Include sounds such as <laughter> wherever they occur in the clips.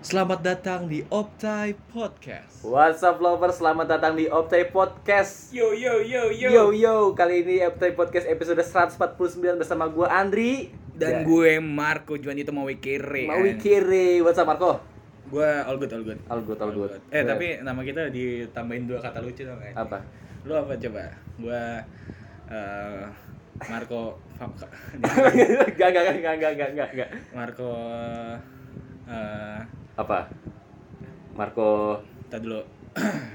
Selamat datang di Optai Podcast. What's up lovers, selamat datang di Optai Podcast Yo yo yo yo. Yo yo, kali ini Optai Podcast episode 149 bersama gue Andri Dan gue Marco Juanito Mawikiri. Mawi Kiri, what's up Marco? Gue all good all good. All good, all good. Eh tapi <laughs> nama kita ditambahin dua kata lucu dong kan. Apa? Lu apa coba? Gue eh Marco Gak, gak, gak, gak, gak, gak, gak, gak. <laughs> Marco eh Apa? Marco tar dulu.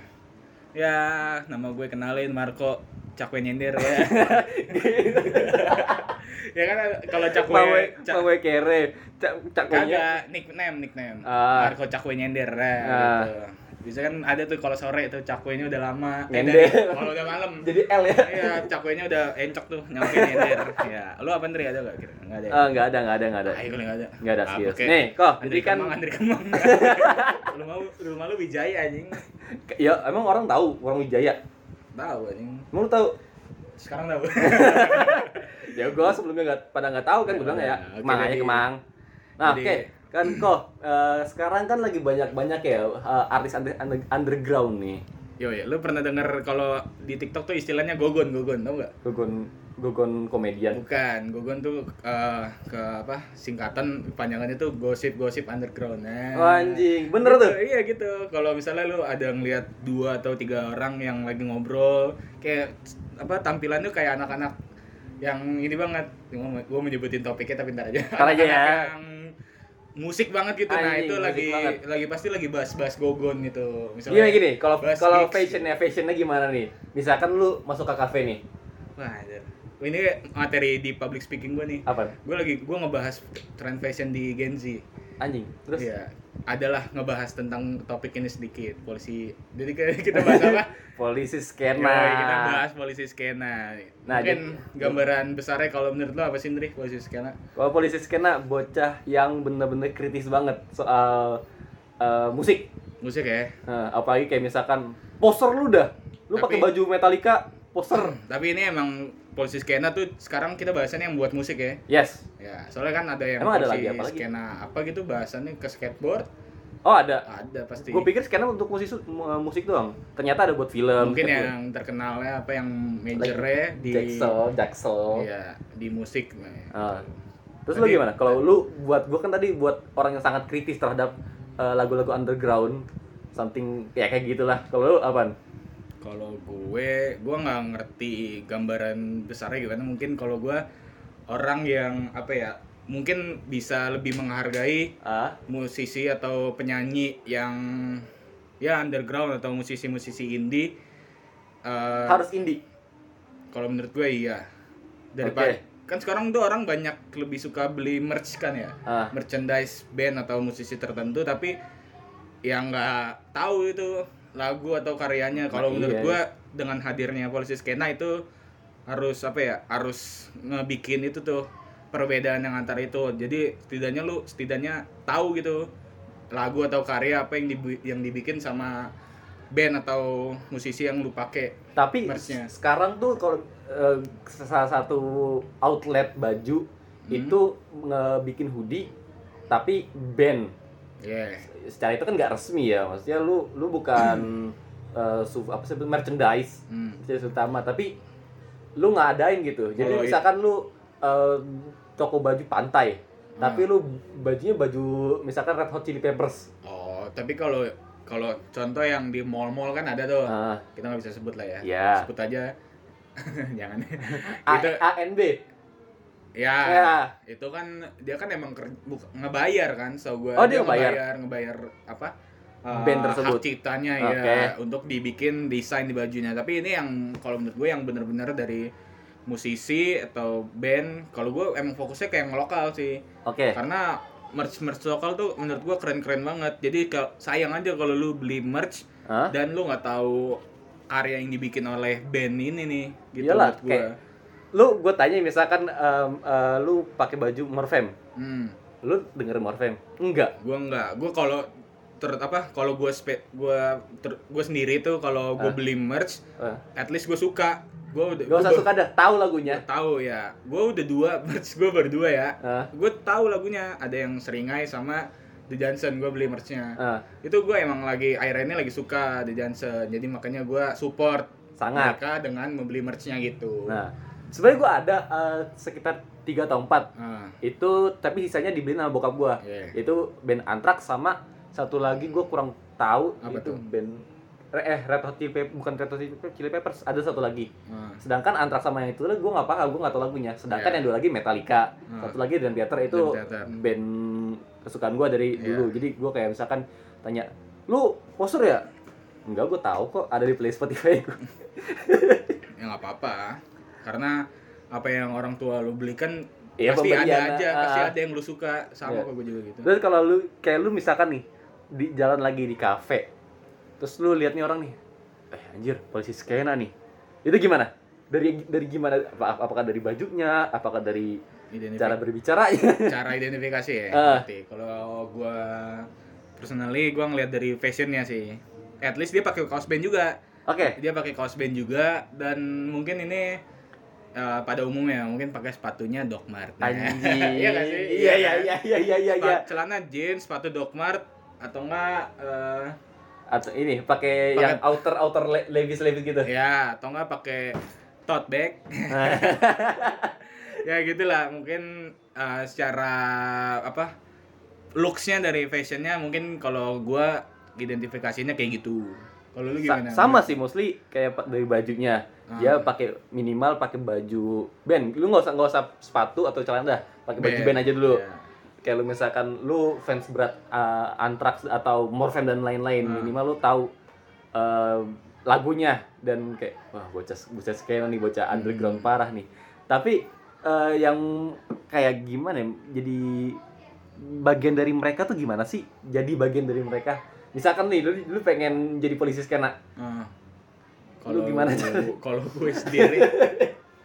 <clears throat> ya, nama gue kenalin Marco Cakwe Nyender <laughs> ya. ya kan kalau Cakwe Mawi Cak- Mawi Kiri Cak, cak punya Kagak, nickname, nickname. Oh iya. Ah. Marco Cakwe nyender nah, Ah. gitu. Bisa kan ada tuh kalau sore tuh cakwenya udah lama. Eh, Nyender. dari- kalau udah malam. <laughs> Jadi L ya? Iya, cakwenya udah encok tuh nyampe nyender. Ya, lu apa Ndri ada enggak kira? Enggak ada. ya? Eh, Nggak ada, nggak ada, nggak ada Ayo enggak ada. Nggak ada, Ah, serius. oke. Nih, kok, Andri jadi kan- Kemang, Andri <laughs> Kemang. rumah lu, rumah lu Wijaya anjing. Ya, emang orang tahu orang Wijaya? Tahu anjing. Emang lu tahu? Sekarang <laughs> tahu. ya gue sebelumnya nggak pada nggak tahu kan gue bilang ya Iya, Oke, kemang aja jadi- kemang nah oke jadi- kan kok eh, sekarang kan lagi banyak banyak ya eh, artis under- under- underground nih Yo ya, lu pernah denger kalau di TikTok tuh istilahnya gogon, gogon, tau enggak? gogon gogon komedian Bukan, Gogon tuh eh, ke apa singkatan panjangannya tuh gosip-gosip underground. Nah, Oh, anjing bener gitu, tuh Iya gitu. Kalau misalnya lu ada ngelihat dua atau tiga orang yang lagi ngobrol, kayak apa tampilannya kayak anak-anak yang ini banget. Gue mau nyebutin topiknya tapi ntar aja. Ntar aja ya. Anak-anak yang musik banget gitu. nah Anjing, itu musik lagi banget. lagi pasti lagi bahas-bahas Gogon gitu. Misalnya Gimana gini, kalau bahas kalau gigs. fashionnya fashionnya gimana nih? Misalkan lu masuk ke kafe nih, Wah, anjir. ini materi di public speaking gue nih. apa? gue lagi gue ngebahas trend fashion di Gen Z Anjing. Terus ya adalah ngebahas tentang topik ini sedikit polisi jadi kayak <laughs> kita bahas <laughs> apa polisi Yoi, kita skena. bahas polisi skena Nah, mungkin gambaran besarnya kalau menurut lo apa sih Ndri polisi skena Kalau polisi skena bocah yang bener-bener kritis banget soal eh, musik. musik ya Nah, apalagi kayak misalkan poster lu dah. Lu pakai Tapi- baju Metallica, poster. tapi ini emang polisi skena tuh sekarang kita bahasannya yang buat musik ya Yes. ya soalnya kan ada yang Emang ada polisi lagi, apa lagi? skena apa gitu bahasannya ke skateboard Oh, ada. ada pasti Gue pikir skena untuk musik eh, musik doang. Ternyata ada buat film. mungkin gitu. yang terkenalnya apa yang majornya di Jaksel, Jaksel. Iya, di musik nah. Ah. Terus lu Tadi- gimana? Kalau lu buat gua kan tadi buat orang yang sangat kritis terhadap eh, lagu-lagu underground something ya kayak gitulah. Kalau lu apaan? Kalau gue, gue nggak ngerti gambaran besarnya gimana. Mungkin kalau gue orang yang apa ya, mungkin bisa lebih menghargai Ah, musisi atau penyanyi yang ya underground atau musisi-musisi indie. Eh, harus indie. kalau menurut gue iya. Daripada kan sekarang tuh orang banyak lebih suka beli merch kan ya. Ah, merchandise band atau musisi tertentu tapi yang nggak tahu itu lagu atau karyanya kalau Nah, menurut iya. gua dengan hadirnya polisi skena itu harus apa ya harus ngebikin itu tuh perbedaan yang antara itu jadi setidaknya lu setidaknya tahu gitu lagu atau karya apa yang dibu- yang dibikin sama band atau musisi yang lu pakai tapi Merch-nya. sekarang tuh kalau eh, salah satu outlet baju Hmm. itu ngebikin hoodie tapi band ya secara itu kan nggak resmi ya maksudnya lu lu bukan eh, su- apa sih merchandise hmm. jenis utama tapi lu nggak adain gitu jadi Kalau i- misalkan lu eh, toko baju pantai tapi Hmm. lu bajunya baju misalkan Red Hot Chili Peppers oh tapi kalau kalau contoh yang di mall-mall kan ada tuh Ah, kita nggak bisa sebut lah ya Ya. sebut aja <laughs> jangan A itu ANB ya Ya. itu kan dia kan emang ker- buk- ngebayar kan so gue Oh, dia ngebayar ngebayar. ngebayar apa eh, Band tersebut. hak ciptanya Oke. ya untuk dibikin desain di bajunya tapi ini yang kalau menurut gue yang bener-bener dari musisi atau band kalau gue emang fokusnya kayak yang lokal sih oke karena merch merch lokal tuh menurut gue keren-keren banget jadi ke- sayang aja kalau lu beli merch Hah? dan lu nggak tahu karya yang dibikin oleh band ini nih gitu Iyalah, menurut gua. kayak- lu gue tanya misalkan em, eh, lu pakai baju Morfem hmm, lu denger Morfem enggak gua nggak gua kalau ter apa kalau gua spe, gua ter- gua sendiri tuh kalau gua Ah. beli merch Eh, at least gua suka gua udah gak usah gua- suka dah tahu gua lagunya tahu ya gua udah dua <laughs> merch gua baru dua ya Hah? gua tahu lagunya ada yang seringai sama The Johnson gue beli merchnya Eh, itu gue emang lagi akhirnya ini lagi suka The Johnson jadi makanya gue support sangat. mereka dengan membeli merchnya gitu Nah, sebenarnya gue ada eh, sekitar 3 atau 4 Ah, itu tapi sisanya dibeliin sama bokap gue iya. itu band Antrax sama satu lagi gue kurang tahu Apa itu tuh? band re- eh Red Hot Chili Peppers bukan Red Hot Chili Peppers, Chili Peppers, ada satu lagi Ah, sedangkan Antrax sama yang itu gue nggak paham gue nggak tahu lagunya Iya. sedangkan yang dua lagi Metallica ah, satu lagi dan Theater Dream itu Theater. Hmm. band kesukaan gue dari Iya. dulu jadi gue kayak misalkan tanya lu poster ya enggak gue tahu kok ada di play Spotify gue ya nggak apa-apa karena apa yang orang tua lu belikan Iya, pasti ada pembelian, aja ah. pasti ada yang lu suka sama Iya. kok gue juga gitu Terus kalau lu kayak lu misalkan nih di jalan lagi di kafe. Terus lu lihat nih orang nih. Eh anjir, polisi skena nih. Itu gimana? Dari dari gimana? Apa- apakah dari bajunya? Apakah dari Identifi- cara berbicaranya? <laughs> cara identifikasi ya Ah. berarti. kalau gue personally gue ngeliat dari fashionnya sih at least dia pakai kaos band juga Oke. dia pakai kaos band juga dan mungkin ini eh, pada umumnya mungkin pakai sepatunya Doc Mart Anjing. Iya nggak sih? Iya Iya iya kan? iya iya iya iya. iya. celana jeans sepatu Doc Mart atau enggak eh, Atau ini Pakai- pakai yang outer outer le- levis levis gitu. Nah, ya atau enggak pakai tote bag <laughs> ya gitulah mungkin eh, secara apa looksnya dari fashionnya mungkin kalau gua identifikasinya kayak gitu kalau lu Sa- gimana sama Iya, sih mostly kayak pa- dari bajunya. Ah. Dia pakai minimal pakai baju band. Lu nggak usah nggak usah sepatu atau celana dah. Pakai baju band aja dulu. Ya. kayak lu misalkan lu fans berat uh, Anthrax atau Morfem dan lain-lain Hmm. minimal lu tahu uh, lagunya dan kayak wah bocah bocah sekarang nih bocah underground Hmm. parah nih tapi uh, yang kayak gimana ya jadi bagian dari mereka tuh gimana sih jadi bagian dari mereka misalkan nih lu, lu pengen jadi polisi skena Ah. Lu gimana gua- caranya? Kalau gue sendiri,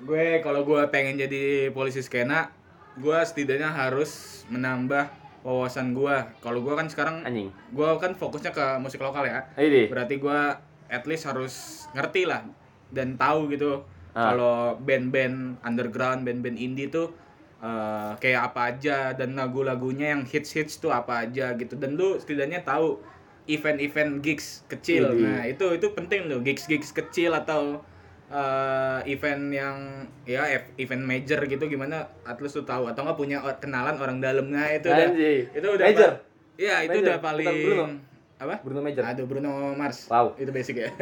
gue kalau gue pengen jadi polisi skena, gue setidaknya harus menambah wawasan gue. Kalau gue kan sekarang, anjing gue kan fokusnya ke musik lokal ya. ayo deh Berarti gue at least harus ngerti lah dan tahu gitu. Ah. Kalau band-band underground, band-band indie tuh eh, kayak apa aja dan lagu-lagunya yang hits-hits tuh apa aja gitu. Dan lu setidaknya tahu event-event gigs kecil. Iya. Nah, itu itu penting tuh gigs-gigs kecil atau eh, event yang ya ev- event major gitu gimana at least lu tahu atau nggak punya or- kenalan orang dalam nah itu udah anjing itu udah Major. pa- Iya, itu Major, udah bukan paling Bruno. apa? Bruno Major Aduh Bruno Mars. Wow. Itu basic ya.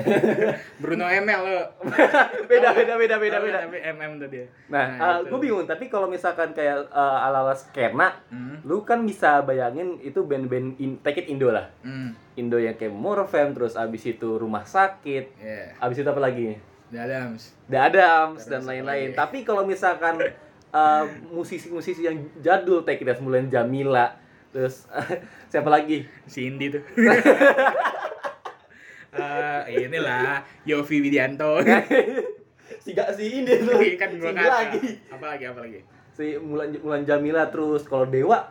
Bruno ML lo. <laughs> beda beda beda beda beda Tapi MM tuh dia. nah, Nah, itu. gue bingung tapi kalau misalkan kayak uh, ala ala skena Hmm. lu kan bisa bayangin itu band-band in, take it Indo lah Hmm. Indo yang kayak Morfem terus abis itu Rumah Sakit Yeah. abis itu apa lagi The Adams. The Adams Terus dan apa lain-lain lagi? tapi kalau misalkan eh, musisi-musisi yang jadul take it as Mulan Jamila terus <laughs> siapa lagi <laughs> Si Indi tuh. Eh, inilah Yofi <laughs> Widianto. Nah, si gak si ini tuh Lagi kan gua Si kata. lagi Apa lagi apa lagi? si Mulan Mulan Jamila terus kalau Dewa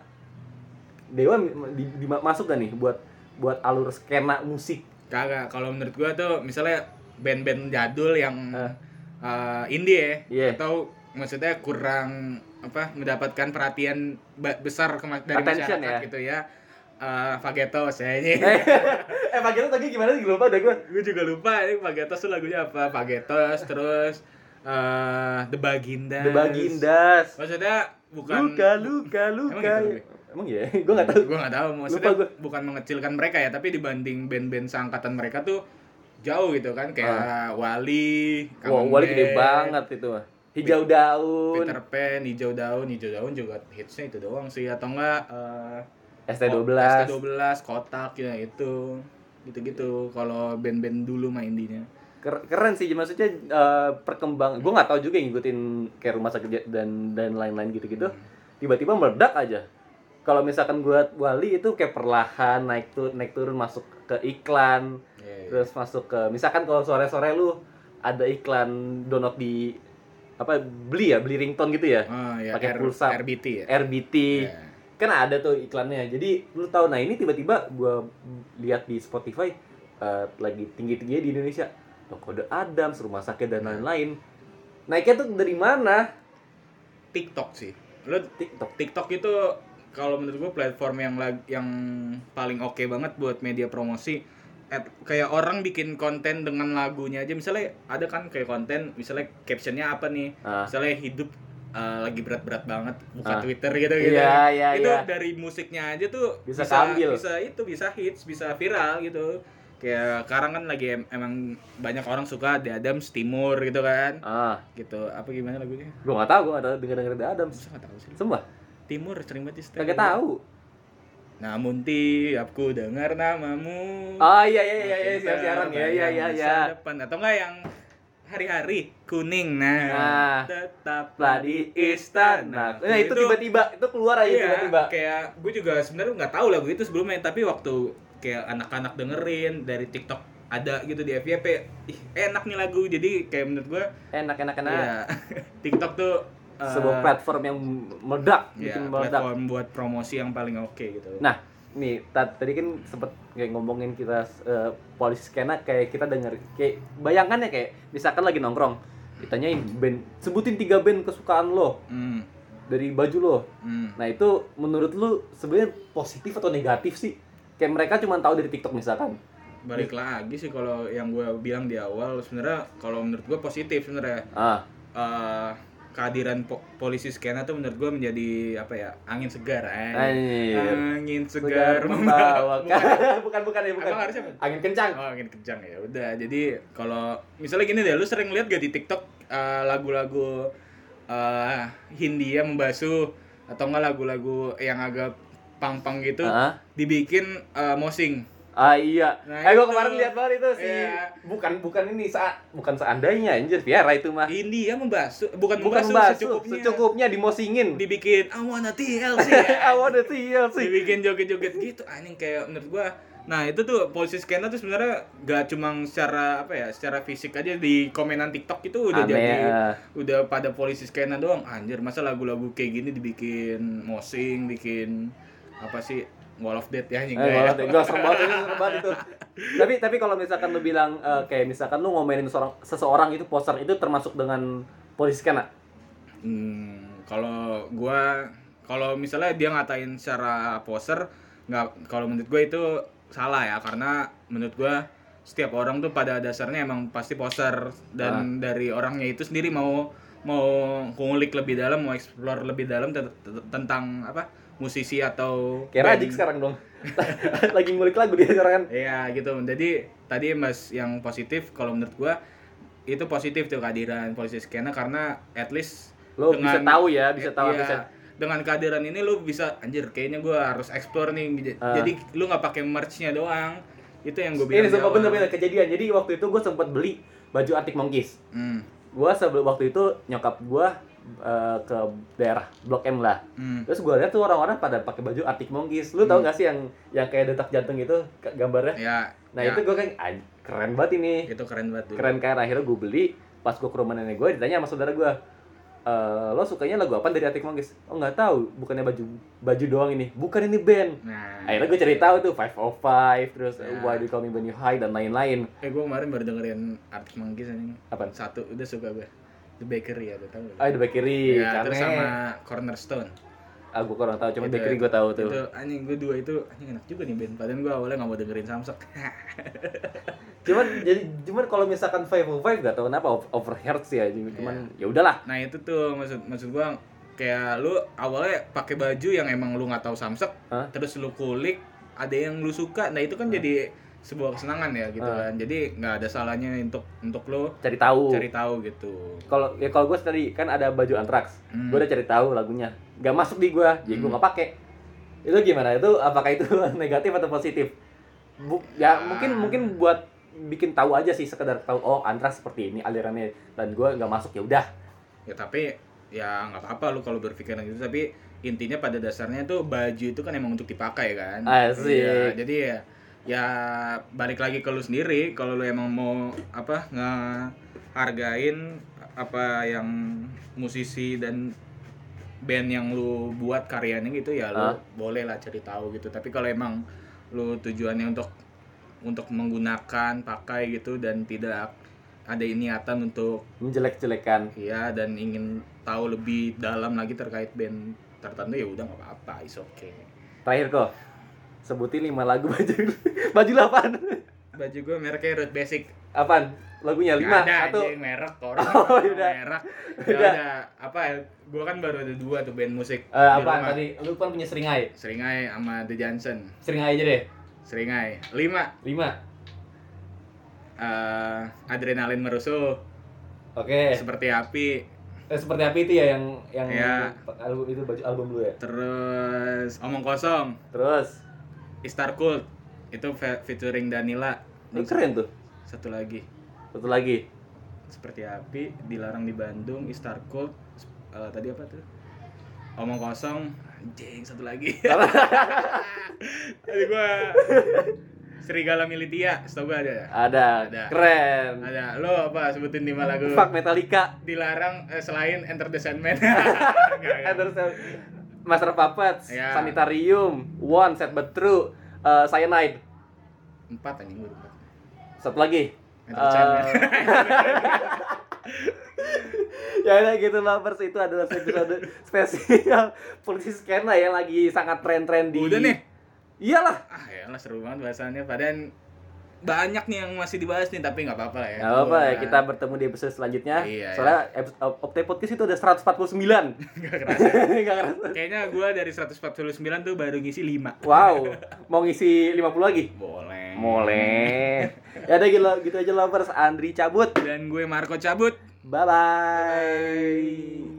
Dewa di- di- masuk gak nih buat buat alur skena musik Kagak, kalau menurut gua tuh misalnya band-band jadul yang Eh. eh, indie ya Iya. atau maksudnya kurang apa mendapatkan perhatian ba- besar kema- dari Attention masyarakat ya. gitu ya. Eh Fagetos ya ini. <laughs> eh <laughs> eh pagi lu tadi gimana sih lupa udah gue gue juga lupa ini Fagetos tuh lagunya apa? Fagetos terus eh The Bagindas. The Bagindas. Maksudnya bukan Luka, luka, luka. Emang gitu, Emang <laughs> ya? Gue gak tahu. gue nggak tahu maksudnya Lupa gua. bukan mengecilkan mereka ya tapi dibanding band-band seangkatan mereka tuh jauh gitu kan kayak Wali, Ah. Wah, Kameng wali gede Band, banget itu mah. Hijau daun, Peter Pan, Hijau Daun, Hijau Daun juga hitsnya itu doang sih atau enggak eh, ST12. ST12, Kotak ya itu gitu-gitu kalau band-band dulu main indinya Ker- Keren sih maksudnya eh, perkembang. Gue nggak tahu juga yang ngikutin kayak rumah sakit ja- dan dan lain-lain gitu-gitu. Hmm, Tiba-tiba meledak aja. Kalau misalkan gue wali itu kayak perlahan naik turun naik turun masuk ke iklan, Iya, iya. terus masuk ke misalkan kalau sore-sore lu ada iklan donat di apa beli ya beli ringtone gitu ya Ah, ya, R- pakai pulsa. RBT ya. RBT Iya. kan ada tuh iklannya jadi lu tahu nah ini tiba-tiba gua lihat di Spotify eh, lagi tinggi-tingginya di Indonesia Loh, kode Adams rumah sakit dan lain-lain naiknya tuh dari mana TikTok sih. Lu TikTok TikTok itu kalau menurut gue platform yang lag- yang paling oke banget buat media promosi at- kayak orang bikin konten dengan lagunya aja misalnya ada kan kayak konten misalnya captionnya apa nih Ah. misalnya hidup uh, lagi berat-berat banget buka Ah. Twitter gitu gitu Iya, iya, itu iya. dari musiknya aja tuh Bisa bisa keambil. bisa itu bisa hits bisa viral gitu kayak sekarang kan lagi em- emang banyak orang suka The Adams Timur gitu kan Ah, gitu apa gimana lagunya gue nggak tahu, gue nggak tahu denger-denger The Adams. Masa nggak tahu sih Sumpah, Timur sering banget di setel. kagak tahu. Namun tiap ku dengar namamu. Oh iya iya iya iya makin siaran siaran ya terbayang iya iya masa iya. Depan atau enggak yang hari-hari kuning nah. Nah. tetaplah Lah di istana. Nah itu tiba-tiba itu keluar aja Iya, tiba-tiba. kayak gue juga sebenarnya nggak tahu lagu itu sebelumnya tapi waktu kayak anak-anak dengerin dari TikTok ada gitu di FYP ih enak nih lagu jadi kayak menurut gue Enak-enak enak. ya <laughs> TikTok tuh eh, Nah. Sebuah platform yang meledak, ya, bikin meledak. platform buat promosi yang paling oke gitu Nah, nih ta- tadi kan sempet kayak ngomongin kita eh, polisi skena kayak kita denger kayak bayangannya kayak misalkan lagi nongkrong ditanyain band sebutin tiga band kesukaan lo Hmm, dari baju lo. hmm. Nah, itu menurut lu sebenarnya positif atau negatif sih? Kayak mereka cuma tahu dari TikTok misalkan. balik lagi sih kalau yang gue bilang di awal sebenarnya kalau menurut gue positif sebenarnya Ah, Eh, kehadiran po- polisi skena tuh menurut gue menjadi apa ya angin segar eh. anjir. angin segar membawa membawa kan? bukan, <laughs> bukan bukan ya bukan Emang harusnya apa? angin kencang oh angin kejang ya udah jadi kalau misalnya gini deh lu sering lihat gak di TikTok eh, lagu-lagu eh, Hindia membasuh atau enggak lagu-lagu yang agak pang-pang gitu Heeh. dibikin eh, mosing ah iya Nah, eh itu. gua kemarin lihat banget itu sih Iya. bukan bukan ini saat bukan seandainya anjir Viera itu mah Hindia membasuh bukan, bukan Iya, membasuh, basuh secukupnya, secukupnya. Iya, dimosingin dibikin I wanna <laughs> TLC <laughs> I wanna see you sih dibikin joget-joget gitu anjing kayak menurut gua nah itu tuh polisi skena tuh sebenarnya gak cuma secara apa ya secara fisik aja di komenan TikTok itu udah Aneh, jadi eh. udah pada polisi skena doang anjir masa lagu-lagu kayak gini dibikin mosing bikin apa sih wall of death ya anjing Eh, gak ya? malah deh, gak serem banget itu, serem banget itu. Tapi tapi kalau misalkan lu bilang eh, kayak misalkan lu ngomelin seorang seseorang itu poster itu termasuk dengan polisi kan, skena. Hmm, kalau gua kalau misalnya dia ngatain secara poser nggak kalau menurut gue itu salah ya karena menurut gua setiap orang tuh pada dasarnya emang pasti poser dan Ah. dari orangnya itu sendiri mau mau ngulik lebih dalam mau explore lebih dalam te- te- tentang apa musisi atau Kayak band. Rajik sekarang dong. <laughs> Lagi ngulik lagu dia sekarang kan. Iya gitu. Jadi tadi Mas yang positif kalau menurut gua itu positif tuh kehadiran polisi skena karena at least Lo bisa tahu ya, bisa eh, tahu iya, bisa. dengan kehadiran ini lu bisa anjir kayaknya gua harus explore nih. J- Ah. Jadi lu nggak pakai merch-nya doang. Itu yang gua bilang. Ini di sumpah awal. bener-bener kejadian. Jadi waktu itu gue sempat beli baju Arctic Monkeys. Hmm. Gue sebelum waktu itu nyokap gue ke daerah Blok M lah. hmm. Terus gue lihat tuh orang-orang pada pakai baju Arctic Monkeys. Lu tau Hmm. gak sih yang yang kayak detak jantung itu k- gambarnya? Ya. Nah ya, Gitu. itu gue kan "Ay, keren banget ini. itu keren banget tuh. Keren kan akhirnya gue beli. Pas gue ke rumah nenek gue ditanya sama saudara gue. "Eh, lo sukanya lagu apa dari Arctic Monkeys? Oh nggak tahu, bukannya baju baju doang ini, bukan ini band. Nah, Akhirnya gue cari tahu tuh Five of Five, terus Ya. Why Do You Call Me When You High dan lain-lain. Eh gua kemarin baru dengerin Artis Monkeys anjing. Apaan? Satu udah suka gua. The Bakery ya, lu tahu nggak? Ah, The Bakery, Ya, terus karena sama Gitu. Cornerstone. aku Ah, kurang tahu, cuma Itu- Bakery gue tahu tuh. itu anjing gue dua itu anjing enak juga nih band padahal gue awalnya nggak mau dengerin samsak <laughs> Cuman jadi cuman kalau misalkan Five of Five gak tahu kenapa over- overheard sih ya, Iya. cuman ya udahlah. nah itu tuh maksud maksud gue kayak lu awalnya pakai baju yang emang lu nggak tahu samsak Hah? terus lu kulik ada yang lu suka nah itu kan jadi sebuah kesenangan ya gitu kan Hah. jadi nggak ada salahnya untuk untuk lu Cari tahu. cari tahu gitu Kalau ya kalau gue tadi kan ada baju Antrax, Hmm. gue udah cari tahu lagunya, gak masuk di gue, jadi gue Hmm. gak pakai. Itu gimana? Itu apakah itu <laughs> negatif atau positif? Bu- Ah. ya mungkin mungkin buat bikin tahu aja sih sekedar tahu oh Antrax seperti ini alirannya dan gue nggak masuk ya udah. ya tapi ya nggak apa-apa lu kalau berpikiran gitu tapi intinya pada dasarnya tuh baju itu kan emang untuk dipakai kan Asik. Iya, jadi ya ya balik lagi ke lu sendiri kalau lu emang mau apa ngehargain apa yang musisi dan band yang lu buat karyanya gitu ya lu Hah? boleh lah cari tahu gitu tapi kalau emang lu tujuannya untuk untuk menggunakan pakai gitu dan tidak ada niatan untuk menjelek-jelekan. Iya dan ingin tahu lebih dalam lagi terkait band tertentu ya udah nggak apa-apa is okay Terakhir kok. Sebutin lima lagu <laughs> baju. baju lu apaan? baju gue mereknya Root Basic Apaan? Lagunya lima Nggak ada atau anjing merek orang <laughs> Oh, udah. merek Nggak Udah. ada apa gue kan baru ada dua tuh band musik di Eh, apaan rumah. tadi? Lu kan punya seringai. Seringai sama The Johnson Seringai aja deh. Seringai lima Lima. eh, adrenalin merusuh Oke. seperti api Eh, seperti apa itu ya yang yang Iya. album itu baju album lu ya. terus omong kosong Terus, Star Cult itu fe- featuring Danila lu keren tuh. satu lagi Satu <laughs> lagi. seperti api dilarang di Bandung Star Cult eh, tadi apa tuh omong kosong anjing satu lagi <laughs> tadi gua serigala militia setahu gua ada ya? Ada. Ada. Keren. ada lo apa sebutin lima lagu Fuck Metallica. dilarang eh, selain Enter the Sandman <laughs> Eh, Enggak, enggak. Terus Master Puppets, Iya. Sanitarium, One Set But True, eh, Cyanide. empat anjing gua lupa. Satu lagi. Enter the Sandman <laughs> Eh, ya udah gitu lovers itu adalah episode spesial polisi skena yang ya, lagi sangat tren-tren di udah nih iyalah ah ya lah seru banget bahasannya padahal banyak nih yang masih dibahas nih tapi nggak apa-apa lah ya nggak apa-apa ya kita bertemu di episode selanjutnya Iya, soalnya episode Opte Podcast itu ada 149 nggak kerasa <laughs> nggak ngerasa Kayaknya gua dari 149 tuh baru ngisi 5 wow mau ngisi 50 lagi Boleh boleh ya udah gitu, gitu aja lovers Andri cabut Dan gue Marco cabut bye bye